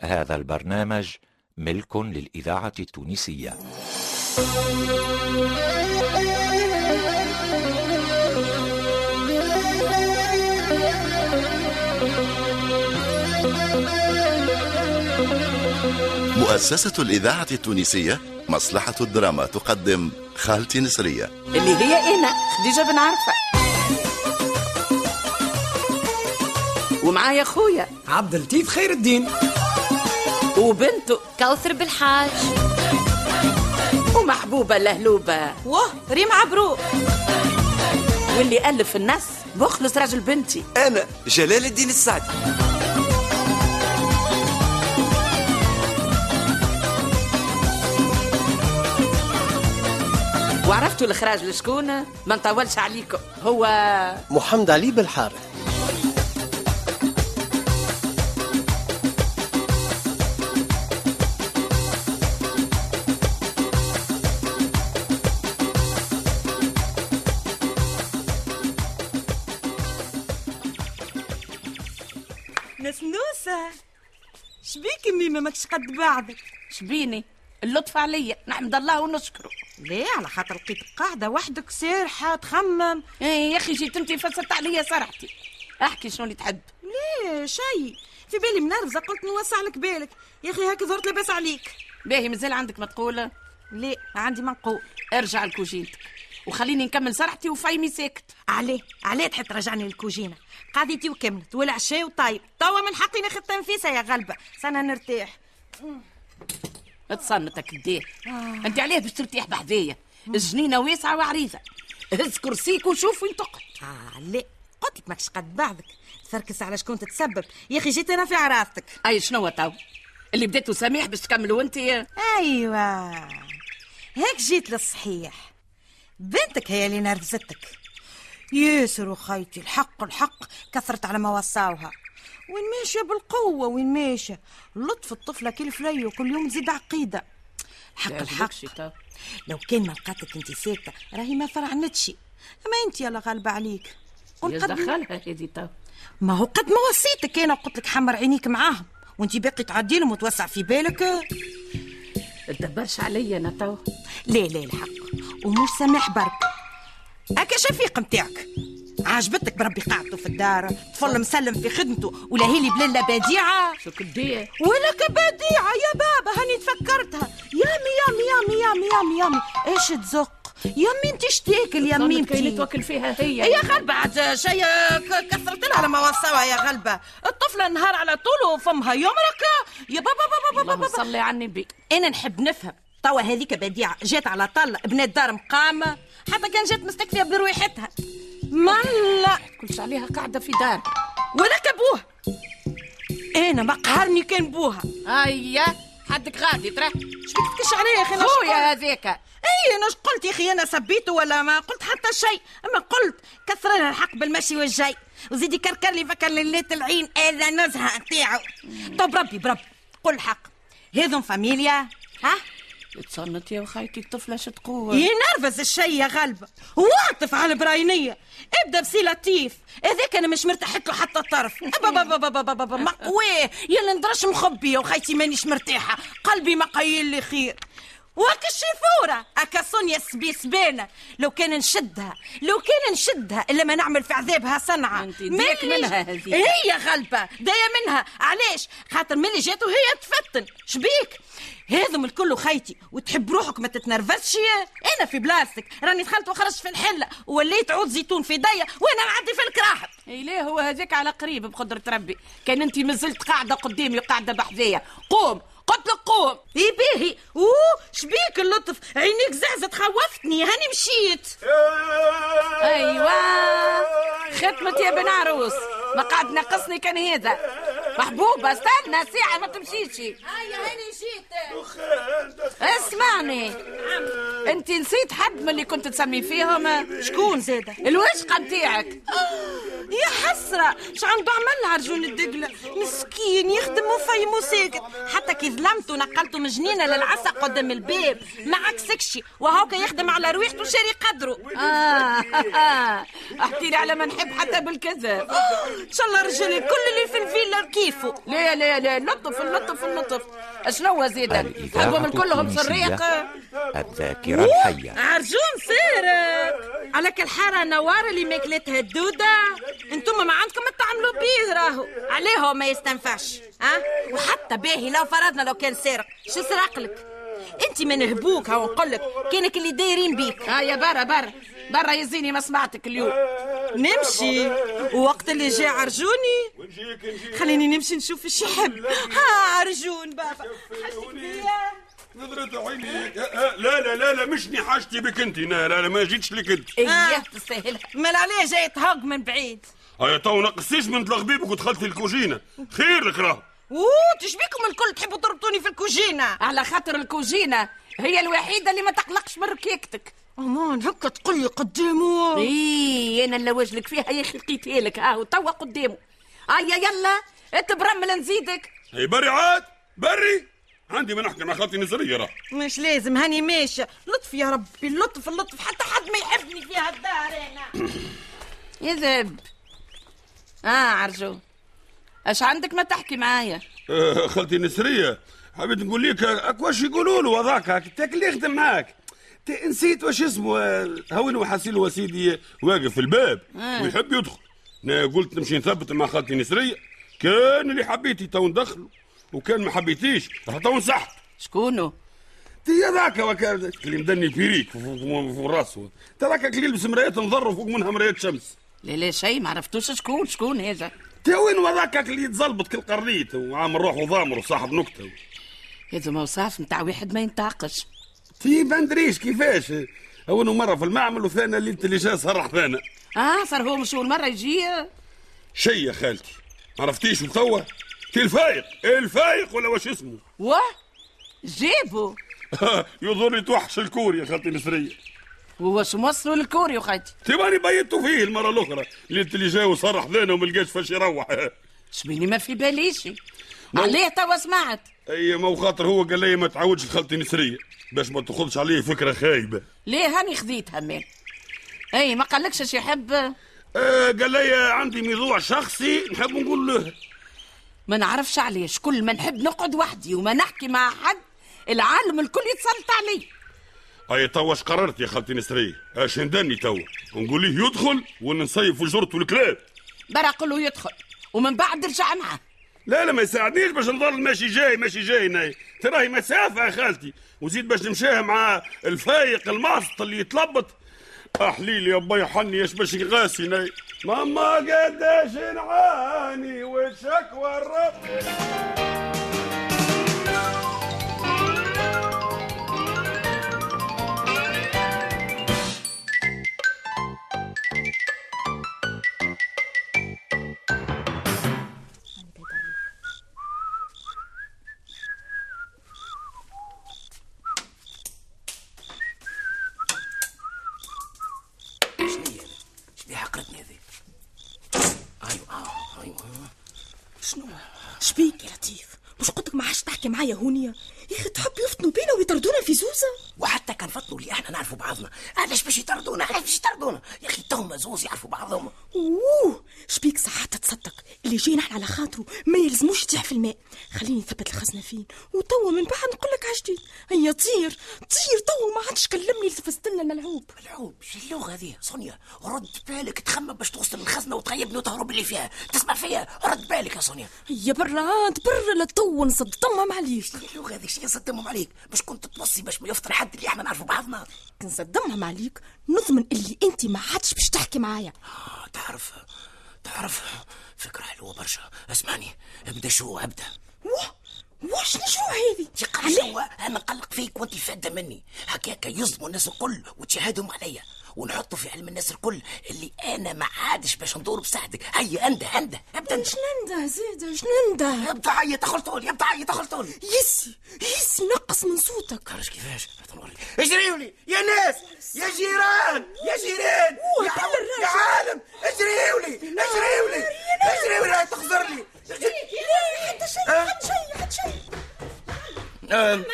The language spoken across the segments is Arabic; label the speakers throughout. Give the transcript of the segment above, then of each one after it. Speaker 1: هذا البرنامج ملك للإذاعة التونسية
Speaker 2: مؤسسة الإذاعة التونسية مصلحة الدراما تقدم خالتي نسرية
Speaker 3: اللي هي انا خديجه بن عرفه ومعايا خويا
Speaker 4: عبد اللطيف خير الدين
Speaker 3: وبنته
Speaker 5: كوثر بالحاج
Speaker 3: ومحبوبه لهلوبه
Speaker 5: واه ريم عبرو
Speaker 3: واللي الف النص مخلص راجل بنتي
Speaker 4: انا جلال الدين السعدي
Speaker 3: وعرفتوا الاخراج لشكون ما نطولش عليكم هو
Speaker 6: محمد علي بالحارث
Speaker 7: نسنوسة شبيك ميمة ماكش قد بعضك
Speaker 3: شبيني اللطف عليا نحمد الله ونشكره
Speaker 7: ليه على خاطر لقيت قاعدة وحدك سارحة تخمم
Speaker 3: إيه يا اخي جيت انت فسرت عليا صرحتي احكي شنو اللي تحب
Speaker 7: ليه شي في بالي منرفزة قلت نوسع لك بالك يا اخي هاك ظهرت لاباس عليك
Speaker 3: باهي مازال عندك ما تقول
Speaker 7: ليه عندي ما نقول
Speaker 3: ارجع لكوجينتك وخليني نكمل صرحتي وفايمي ساكت
Speaker 7: عليه عليه تحب ترجعني للكوجينة قضيتي وكملت والعشاء وطايب توا من حقي ناخذ تنفيسة يا غلبة سنة نرتاح
Speaker 3: تصنتك الديه
Speaker 7: آه.
Speaker 3: انت علاه باش ترتاح بحذايا الجنينه واسعه وعريضه هز كرسيك وشوف وين تقعد
Speaker 7: آه ليه قلت لك ماكش قد بعضك تفركس على شكون تتسبب يا اخي جيت انا في عرافتك
Speaker 3: اي شنو تو اللي بديتو سميح باش تكمل وانت
Speaker 7: ايوه هيك جيت للصحيح بنتك هي اللي نرفزتك ياسر وخيتي الحق الحق كثرت على ما وصاوها وين ماشيه بالقوه وين ماشيه لطف الطفله كل فلي وكل يوم زيد عقيده الحق
Speaker 3: لا
Speaker 7: الحق
Speaker 3: يعجبكش تو.
Speaker 7: لو كان ما لقاتك انت ساكته راهي ما فرعنتش اما انت يلا غالبه عليك
Speaker 3: ايش
Speaker 7: قلت قد ما-
Speaker 3: دخلها هذه تو
Speaker 7: ما هو قد ما وصيتك انا وقلت لك حمر عينيك معاهم وانت باقي تعديلهم وتوسع في بالك آه،
Speaker 3: تدبرش عليا انا تو
Speaker 7: لا لا الحق ومش سامح برك هكا شفيق متاعك عجبتك بربي قعدته في الدار طفل مسلم في خدمته ولا هيلي بلا بديعه
Speaker 3: شو كديه
Speaker 7: ولك بديعه يا بابا هاني تفكرتها يامي يامي يامي يامي يامي يامي ايش تزق يامي انت ايش تاكل يامي
Speaker 3: مين كاين
Speaker 7: انت
Speaker 3: توكل فيها هي
Speaker 7: يا غلبة عاد شي ك- كثرت لها على ما وصاوها يا غلبة الطفلة نهار على طول وفمها يمرك يا بابا بابا بابا
Speaker 3: اللهم
Speaker 7: بابا
Speaker 3: صلي على النبي
Speaker 7: انا نحب نفهم توا هذيك بديعة جات على طل بنات دار مقامة حتى كان جات مستكفية برويحتها ملا
Speaker 3: كلش عليها قاعده في دار
Speaker 7: ولك ابوها انا ما قهرني كان بوها
Speaker 3: ايا حدك غادي ترى
Speaker 7: اش بك تكش عليا يا اخي أنا شقول؟
Speaker 3: خويا هذاك
Speaker 7: اي انا اش قلت يا اخي انا سبيته ولا ما قلت حتى شيء اما قلت كثر لها الحق بالمشي والجاي وزيدي كركر لي فكر ليلات العين اذا نزهه نتاعو طب ربي بربي قل الحق هذم فاميليا ها
Speaker 3: تصنت يا وخيتي الطفله شو تقول
Speaker 7: ينرفز الشي يا غلبة واعطف على البراينية ابدا بسي لطيف هذاك انا مش مرتاحت له حتى الطرف بابا بابا بابا بابا مقواه يلا ندرش مخبية وخيتي مانيش مرتاحة قلبي ما قايل لي خير وك الشفورة أكا سونيا سبي سبانة لو كان نشدها لو كان نشدها إلا ما نعمل في عذابها صنعة
Speaker 3: أنت ديك
Speaker 7: ملي-
Speaker 3: منها هذيك.
Speaker 7: هي غلبة داية منها علاش خاطر ملي جاتو هي تفتن شبيك هذم الكل خيتي وتحب روحك ما تتنرفزش يا. انا في بلاستيك راني دخلت وخرجت في الحله وليت عود زيتون في ديا وانا معدي في الكراحب
Speaker 3: اي ليه هو هذاك على قريب بقدرة ربي كان انت مازلت قاعدة قدامي وقاعدة بحذايا قوم قلت لك قوم
Speaker 7: اي باهي اوه شبيك اللطف عينيك زعزت خوفتني هاني مشيت
Speaker 3: ايوا ختمت أيوة. يا بن عروس ما قعد ناقصني كان هذا محبوبة استنى ساعة ما تمشيش
Speaker 7: هيا هاني جيت
Speaker 3: اسمعني انت نسيت حد من اللي كنت تسمي فيهم
Speaker 7: شكون زاده آه،
Speaker 3: الوشقة نتاعك
Speaker 7: يا حسرة شو عنده عملها رجل الدقلة مسكين يخدم وفيمو ساكت حتى كي ظلمته ونقلته من جنينة للعسى قدام الباب ما عكسكشي وهوكا يخدم على ريحته شاري قدره
Speaker 3: آه آه احكي لي على ما نحب حتى بالكذب
Speaker 7: ان شاء الله رجالي كل اللي في الفيلا كيفه
Speaker 3: لا لا لا اللطف اللطف اللطف شنو زيدك
Speaker 1: الإذاعة
Speaker 3: حبهم كلهم
Speaker 1: التونسية
Speaker 3: سريق
Speaker 1: آه. الذاكرة الحية
Speaker 7: عرجون صارت على كل حارة نوار اللي ماكلتها الدودة انتم ما عندكم تعملوا بيه راهو عليه هو ما يستنفعش ها وحتى باهي لو فرضنا لو كان سارق شو سرق لك انت ما نهبوك هاو نقول لك كانك اللي دايرين بيك
Speaker 3: ها آه، يا برا برا برا يزيني ما سمعتك اليوم
Speaker 7: نمشي ووقت اللي جاء عرجوني خليني نمشي نشوف ايش يحب ها عرجون بابا حشك بيا
Speaker 8: نظرة عينيك آه، آه، لا لا لا لا مشني حاجتي بك انت لا لا لا ما جيتش لك انت
Speaker 3: اياه تستاهلها
Speaker 7: مال عليه جاي تهق من بعيد
Speaker 8: هيا تو نقصيش من تلغبيبك ودخلت الكوجينه خير لك راه
Speaker 7: اوه تشبيكم الكل تحبوا تربطوني في الكوجينه
Speaker 3: على خاطر الكوجينه هي الوحيده اللي ما تقلقش من ركيكتك
Speaker 7: امان هكا تقول لي قدامه
Speaker 3: اي انا إيه، اللي وجلك فيها يا اخي لقيتها لك ها توا قدامه هيا يلا انت برمل نزيدك
Speaker 8: هي بري عاد بري عندي ما نحكي مع خالتي نزريه راه
Speaker 7: مش لازم هاني ماشيه لطف يا ربي اللطف اللطف حتى حد ما يحبني في هالدار انا
Speaker 3: يذهب اه عرجو اش عندك ما تحكي معايا
Speaker 8: آه، خالتي نسرية حبيت نقول لك اك واش يقولوا له هذاك هاك تاك اللي يخدم معاك ت- نسيت واش اسمه آه، هون وحسيل وسيدي واقف في الباب ويحب يدخل انا قلت نمشي نثبت مع خالتي نسرية كان اللي حبيتي تو ندخله وكان ما حبيتيش راه تو نصحت
Speaker 3: شكونه
Speaker 8: تي هذاك وك- اللي مدني بيريك فوق فوق راسه تراك اللي يلبس مرايات نضر فوق منها مرايات شمس
Speaker 3: لا لا شيء ما عرفتوش شكون شكون هذا
Speaker 8: تي وين وذاك اللي يتزلبط كالقريت وعامل روحه ضامر وصاحب نكته
Speaker 3: هذا موصاف نتاع واحد ما ينطاقش
Speaker 8: تي ما ندريش كيفاش اول مره في المعمل وثاني الليله اللي جا صرح ثانا
Speaker 3: اه صار هو مش أول مره يجي
Speaker 8: شي يا خالتي عرفتيش توا تي الفايق الفايق ولا واش اسمه
Speaker 3: واه جابوا
Speaker 8: يظهر لي توحش الكور يا خالتي السريه
Speaker 3: وهو شو موصلوا للكوريو خايتي
Speaker 8: تي ماني بيتو فيه المره الاخرى الليله اللي جا وصرح ثانا وما لقاش فاش يروح
Speaker 3: شبيني ما في باليش عليه توا سمعت
Speaker 8: اي ما هو خاطر هو قال لي ما تعاودش خالتي نسريه باش ما تاخذش عليه فكره خايبه
Speaker 3: ليه هاني خذيتها مال اي ما قالكش اش يحب
Speaker 8: آه قال لي عندي موضوع شخصي نحب نقول له
Speaker 3: ما نعرفش علاش كل ما نحب نقعد وحدي وما نحكي مع حد العالم الكل يتسلط علي
Speaker 8: اي توا اش قررت يا خالتي نسرية اش ندني توا نقول ليه يدخل ونصيف وجرته الكلاب
Speaker 3: برا قولوا يدخل ومن بعد رجع معاه
Speaker 8: لا لا ما يساعدنيش باش نضل ماشي جاي ماشي جاي ناي تراهي مسافة يا خالتي وزيد باش نمشيها مع الفايق المعصط اللي يتلبط أحليل يا بي حني اش باش يغاسي ناي ماما قداش نعاني وشكوى الرب
Speaker 6: شبيها عقرتني هذه ايوه آه، ايوه
Speaker 9: شنو شبيك يا لطيف مش قلتك ما عادش تحكي معايا هونيا يا اخي تحب يفطنوا بينا ويطردونا في زوزه
Speaker 6: وحتى كان فطنوا اللي احنا نعرفوا بعضنا علاش باش يطردونا علاش باش يطردونا يا اخي توهم زوز يعرفوا بعضهم
Speaker 9: اوه شبيك ساعات تصدق اللي جاي نحن على خاطره ما يلزموش يطيح في الماء خليني نثبت الخزنه فين وتوا من بعد نقول لك عجدي هيا طير طير توا ما عادش كلمني التفت لنا الملعوب
Speaker 6: ملعوب شو اللغه هذه سونيا رد بالك تخمم باش توصل الخزنه وتغيبني وتهرب اللي فيها تسمع فيا رد بالك يا سونيا
Speaker 9: هيا برا تبرا لتوا نصد طمم عليك
Speaker 6: شو اللغه هذه شو يصدمهم عليك باش كنت توصي باش ما يفطر حد اللي احنا نعرفوا بعضنا
Speaker 9: نصدمهم عليك نضمن اللي انت ما عادش باش تحكي معايا
Speaker 6: آه، تعرف تعرف فكرة حلوة برشا اسمعني ابدا شو ابدا
Speaker 9: واه واش نشوف هذه
Speaker 6: شو هو انا نقلق فيك وانت في يتعدى مني هكاك يصدموا الناس الكل وتشهدهم عليا ونحطوا في علم الناس الكل اللي انا ما عادش باش ندور بساعدك هيا انده انده ابدا انت
Speaker 9: شننده زيد شننده
Speaker 6: ابدا عيط اخلطوني ابدا عيط اخلطوني
Speaker 9: يسي يسي نقص من صوتك
Speaker 6: كرش كيفاش اجريولي يا ناس يا جيران يا جيران يا
Speaker 9: بل
Speaker 6: عم- يا
Speaker 9: الرجل.
Speaker 6: عالم اجريولي اجريولي اجريولي راهي تخزر لي
Speaker 7: إيه،
Speaker 6: أه؟
Speaker 9: حتى شيء حتى شيء حتى شيء
Speaker 6: أم،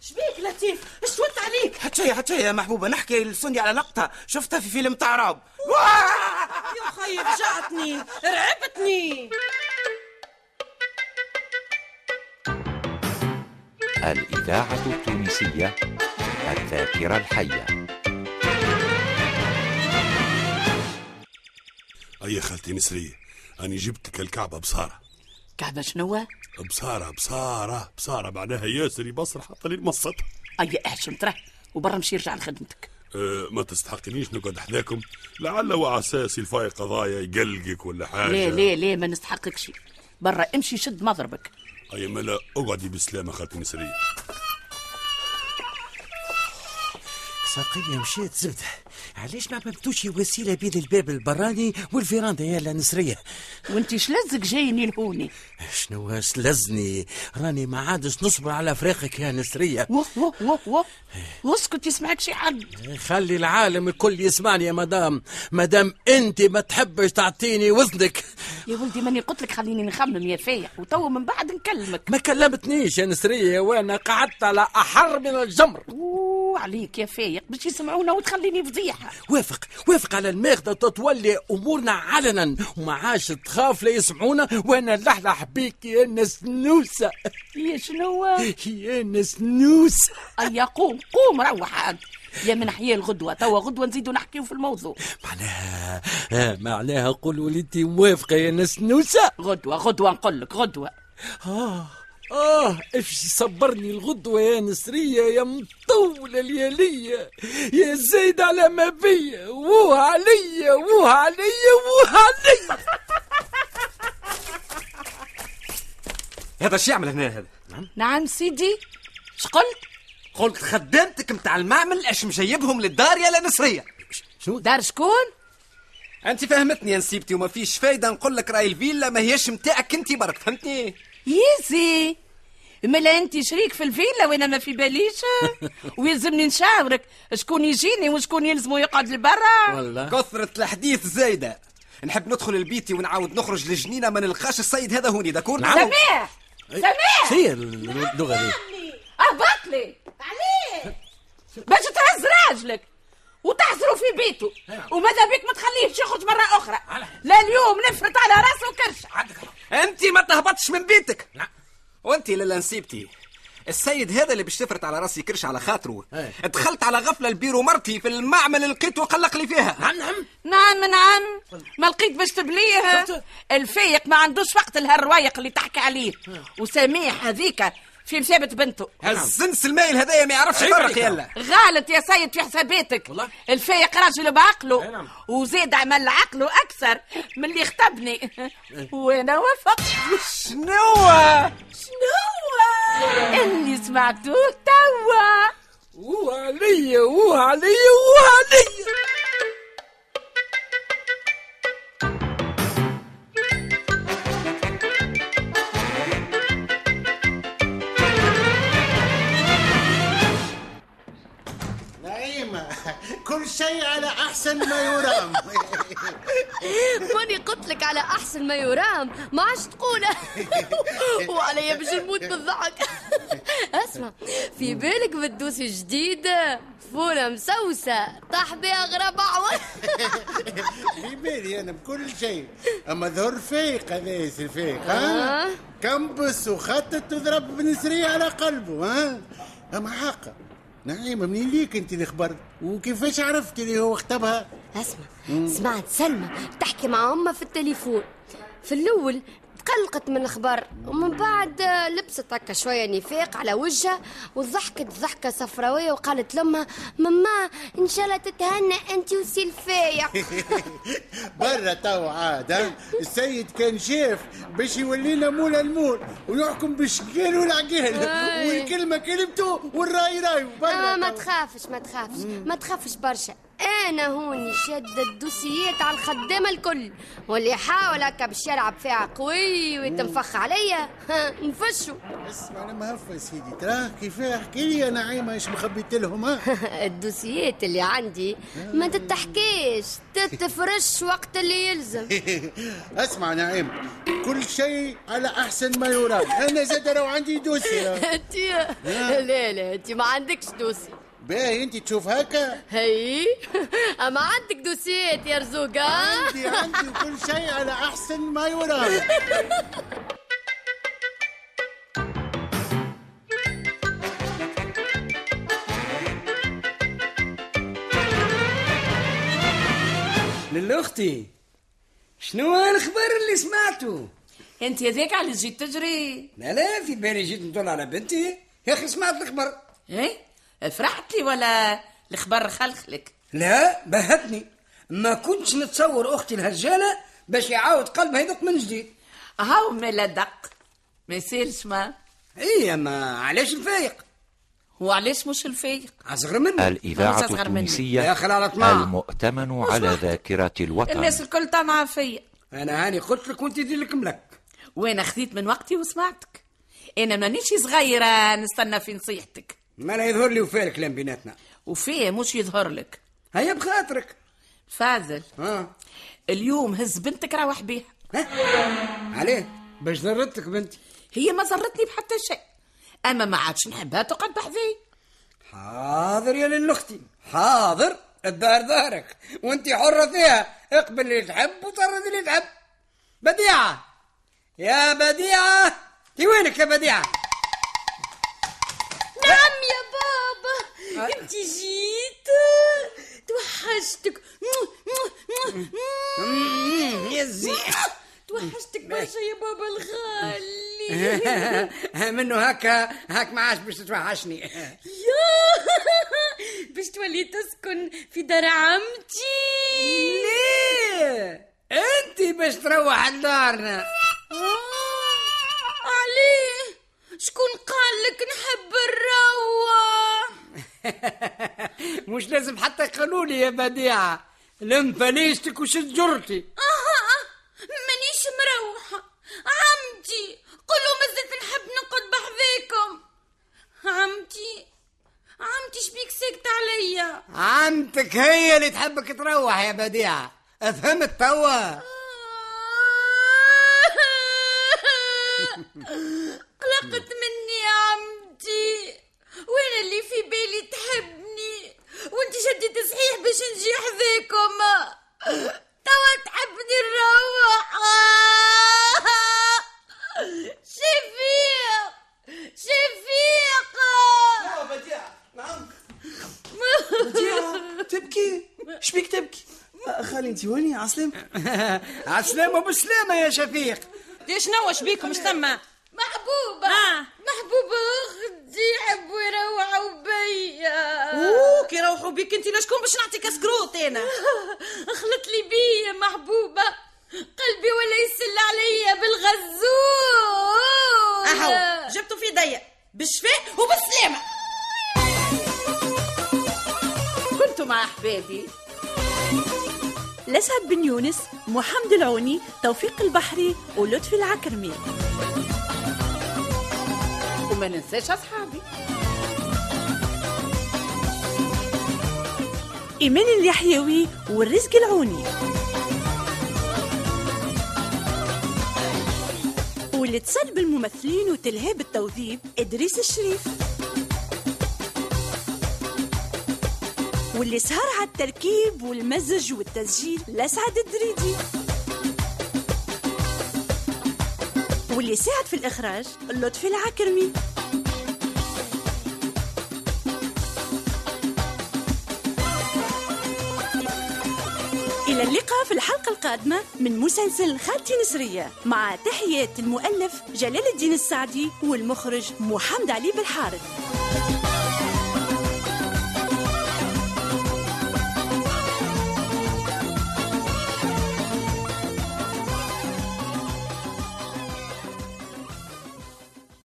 Speaker 7: شبيك لطيف اش توت عليك
Speaker 6: حتى شيء حتى شيء يا محبوبه نحكي لسوني على لقطه شفتها في فيلم تاع رعب
Speaker 7: يا خي فجعتني رعبتني
Speaker 1: الإذاعة التونسية الذاكرة الحية
Speaker 8: أي خالتي نسرية أني جبتك الكعبة بصارة
Speaker 3: كعبة شنو؟
Speaker 8: بصارة بصارة بصارة معناها ياسر يبصر حتى لين مصت
Speaker 3: أي أحشم تراه وبرا مشي يرجع لخدمتك
Speaker 8: أه ما تستحقنيش نقعد حداكم لعل وعساس الفاي قضايا يقلقك ولا حاجة
Speaker 3: ليه ليه ليه ما نستحقكش برا امشي شد مضربك
Speaker 8: أي ملا اقعدي بالسلامة خالتي نسرية
Speaker 10: ساقية مشات زبدة علاش ما عملتوش وسيلة بين الباب البراني والفيراندا يا لا نسرية
Speaker 3: وانت شلزك جايني لهوني
Speaker 10: شنو هاش لزني راني ما عادش نصبر على فراقك يا نسرية
Speaker 3: وه وه وه وه واسكت يسمعك شي حد
Speaker 10: خلي العالم الكل يسمعني يا مدام مدام انت ما تحبش تعطيني وزنك
Speaker 3: يا ولدي ماني قلت لك خليني نخمم يا فايح وتوا من بعد نكلمك
Speaker 10: ما كلمتنيش يا نسرية وانا قعدت على احر من الجمر
Speaker 3: اوه عليك يا فايق باش يسمعونا وتخليني فضيحه
Speaker 10: وافق وافق على الماخذة تتولي امورنا علنا وما عادش تخاف لا يسمعونا وانا نلحلح بيك يا نسنوسة
Speaker 3: يا شنو
Speaker 10: يا نسنوسة
Speaker 3: ايا قوم قوم روح عاد يا من حيا الغدوه توا غدوه نزيدو نحكيو في الموضوع
Speaker 10: معناها آه معناها قولوا لي انت موافقة يا نسنوسة
Speaker 3: غدوه غدوه نقول لك غدوه
Speaker 10: آه آه إيش صبرني الغدوة يا نسرية يا مطولة ليالية يا زايد على ما بيا ووه عليا ووه عليا ووه عليا
Speaker 4: هذا شو يعمل هنا هذا
Speaker 3: نعم سيدي شقلت
Speaker 4: قلت خدامتك متاع المعمل اش مجيبهم للدار يا نسريه
Speaker 3: دار شكون
Speaker 4: انت فهمتني يا نسيبتي وما فيش فايده نقول لك راي الفيلا ما هيش متاعك انت برك فهمتني
Speaker 3: يزي ملا انت شريك في الفيلا وانا ما في باليش ويلزمني نشاورك شكون يجيني وشكون يلزمه يقعد لبرا
Speaker 10: والله
Speaker 4: كثره الحديث زايده نحب ندخل لبيتي ونعاود نخرج لجنينه ما نلقاش السيد هذا هوني داكور نعم
Speaker 3: سميح سميح
Speaker 10: شنو هي اللغة دي
Speaker 3: اهبط لي عليه أه، باش تهز راجلك وتحصره في بيته
Speaker 10: إيه.
Speaker 3: وماذا بك ما تخليهش يخرج مرة أخرى لا اليوم نفرط على راسه كرشة
Speaker 4: انت ما تهبطش من بيتك
Speaker 10: نعم.
Speaker 4: لا وانت لالا نسيبتي السيد هذا اللي باش تفرط على راسي كرش على خاطره
Speaker 10: ايه.
Speaker 4: دخلت على غفله البيرو مرتي في المعمل لقيته وقلق لي فيها
Speaker 10: نعم نعم
Speaker 3: نعم نعم ما لقيت باش تبليه
Speaker 10: شفت؟
Speaker 3: الفايق ما عندوش وقت لهالروايق اللي تحكي عليه
Speaker 10: إيه.
Speaker 3: وسميح هذيك في مثابة بنته
Speaker 4: الزنس المايل هذايا ما يعرفش
Speaker 10: نعم. عيب
Speaker 4: يفرق
Speaker 10: عليك.
Speaker 4: يلا
Speaker 3: غالط يا سيد في حساباتك
Speaker 10: والله؟
Speaker 3: الفايق راجل بعقله
Speaker 10: أي نعم.
Speaker 3: وزاد عمل عقله اكثر من اللي خطبني وانا وافق
Speaker 4: شنو
Speaker 3: شنو اللي سمعتوه توا
Speaker 10: ووه عليا ووه عليا ووه عليا
Speaker 5: ماني قلت لك على احسن ما يرام ما عادش تقوله وعليا باش نموت بالضحك اسمع في بالك بتدوسي جديده فوله مسوسه طاح بها غراب عوض
Speaker 11: في بالي انا بكل شيء اما ظهر فيق هذا ياسر فيق
Speaker 5: آه.
Speaker 11: ها كمبس وخطط وضرب بنسرية على قلبه ها اما حقه نعيم منين ليك انت اللي خبرت وكيفاش عرفت اللي هو خطبها
Speaker 5: اسمع سمعت سلمى تحكي مع امها في التليفون في الاول تقلقت من الخبر ومن بعد آه، لبست هكا شوية نفاق على وجهها وضحكت ضحكة صفراوية وقالت لأمها ماما إن شاء الله تتهنى أنت وسي الفايق
Speaker 11: برا تو عاد ها؟ السيد كان شاف باش يولينا مولا المول ويحكم بالشكال والعقال
Speaker 5: أي.
Speaker 11: والكلمه كلمته والراي راي
Speaker 5: آه
Speaker 11: برا
Speaker 5: ما
Speaker 11: تو.
Speaker 5: تخافش ما تخافش ما تخافش برشا انا هوني شادة الدوسيات على الخدامة الكل واللي يحاول هكا باش يلعب فيها قوي ويتنفخ عليا ها، نفشو
Speaker 11: اسمع انا مهفه سيدي تراه كيفاه احكي لي يا نعيمه ايش مخبيت لهم ها
Speaker 5: الدوسيات اللي عندي ما تتحكيش تتفرش وقت اللي يلزم
Speaker 11: اسمع نعيم كل شيء على احسن ما يرام انا زاد لو عندي دوسي
Speaker 5: انت لا لا انت ما عندكش دوسي
Speaker 11: باهي انت تشوف هكا
Speaker 5: هي اما عندك دوسيات يا رزوقة
Speaker 11: عندي عندي كل شيء على احسن ما يرام
Speaker 12: للأختي شنو الخبر اللي سمعته؟
Speaker 3: انت هذاك علاش جيت تجري
Speaker 12: لا لا في بالي جيت ندور على بنتي يا اخي سمعت الخبر
Speaker 3: ايه فرحت لي ولا الخبر خلخلك
Speaker 12: لا بهتني ما كنتش نتصور اختي الهجاله باش يعاود قلبها يدق من جديد
Speaker 3: هاو مالا دق ما يسالش ما
Speaker 12: اي ما علاش الفايق
Speaker 3: وعلاش مش الفايق
Speaker 10: أه.
Speaker 12: اصغر مني
Speaker 1: الإذاعة التونسية المؤتمن على ذاكرة الوطن
Speaker 3: الناس الكل طمعة فيا
Speaker 12: انا هاني قلت لك وانت دير لك ملك
Speaker 3: وانا خذيت من وقتي وسمعتك انا مانيش صغيره نستنى في نصيحتك
Speaker 12: ما لا يظهر لي وفيه الكلام بيناتنا
Speaker 3: وفيه مش يظهر لك
Speaker 12: هيا بخاطرك
Speaker 3: فاضل
Speaker 12: ها
Speaker 3: اليوم هز بنتك روح بيها
Speaker 12: عليه باش ضرتك بنتي
Speaker 3: هي ما ضرتني بحتى شيء اما ما عادش نحبها تقعد بحذايا
Speaker 12: حاضر يا للأختي حاضر الدار دارك وانت حرة فيها اقبل اللي تحب وطرد اللي تحب بديعة يا بديعة في وينك يا بديعة
Speaker 13: نعم يا بابا انت جيت توحشتك
Speaker 12: يا زين
Speaker 13: توحشتك برشا يا بابا الغالي
Speaker 12: منه هكا هاك ما عادش باش تتوحشني
Speaker 13: يا باش تولي تسكن في دار عمتي
Speaker 12: ليه انت باش تروح لدارنا
Speaker 7: Ah,
Speaker 13: عليه شكون قال لك نحب نروح
Speaker 12: مش لازم حتى يقولوا لي يا بديعة لم فليشتك وشد جرتي
Speaker 13: آه مانيش مروحة عمتي قولوا مازلت نحب نقعد بحذاكم عمتي عمتي شبيك ساكتة عليا
Speaker 12: عمتك هي اللي تحبك تروح يا بديعة افهمت توا
Speaker 13: قلقت مني يا عمتي وانا اللي في بالي تحبني وانت شديت صحيح باش نجي حذاكم توا تحبني نروح شفيق شفيق
Speaker 12: توا بديعة نعم بديعة تبكي شبيك تبكي خالي انت هوني عسلام عسلام وبسلامة يا شفيق
Speaker 7: ليش نو بيكم مش
Speaker 13: آه.
Speaker 7: تما
Speaker 13: محبوبة محبوبة أختي يحبوا يروحوا بيا
Speaker 7: اوه كي يروحوا بيك انت لشكون باش نعطيك سكروت انا
Speaker 13: خلط لي بيا محبوبة قلبي ولا يسل عليا بالغزول
Speaker 7: اهو جبته في يديا بالشفاء وبالسلامه
Speaker 3: كنتوا مع احبابي
Speaker 14: لسعد بن يونس محمد العوني توفيق البحري ولطفي العكرمي
Speaker 3: وما ننساش اصحابي
Speaker 14: إيمان اليحيوي والرزق العوني واللي اتصل بالممثلين وتلهي بالتوظيف إدريس الشريف واللي سهر على التركيب والمزج والتسجيل لسعد الدريدي واللي ساعد في الإخراج لطفي العكرمي إلى اللقاء في الحلقة القادمة من مسلسل خالتي نسرية مع تحيات المؤلف جلال الدين السعدي والمخرج محمد علي بالحارث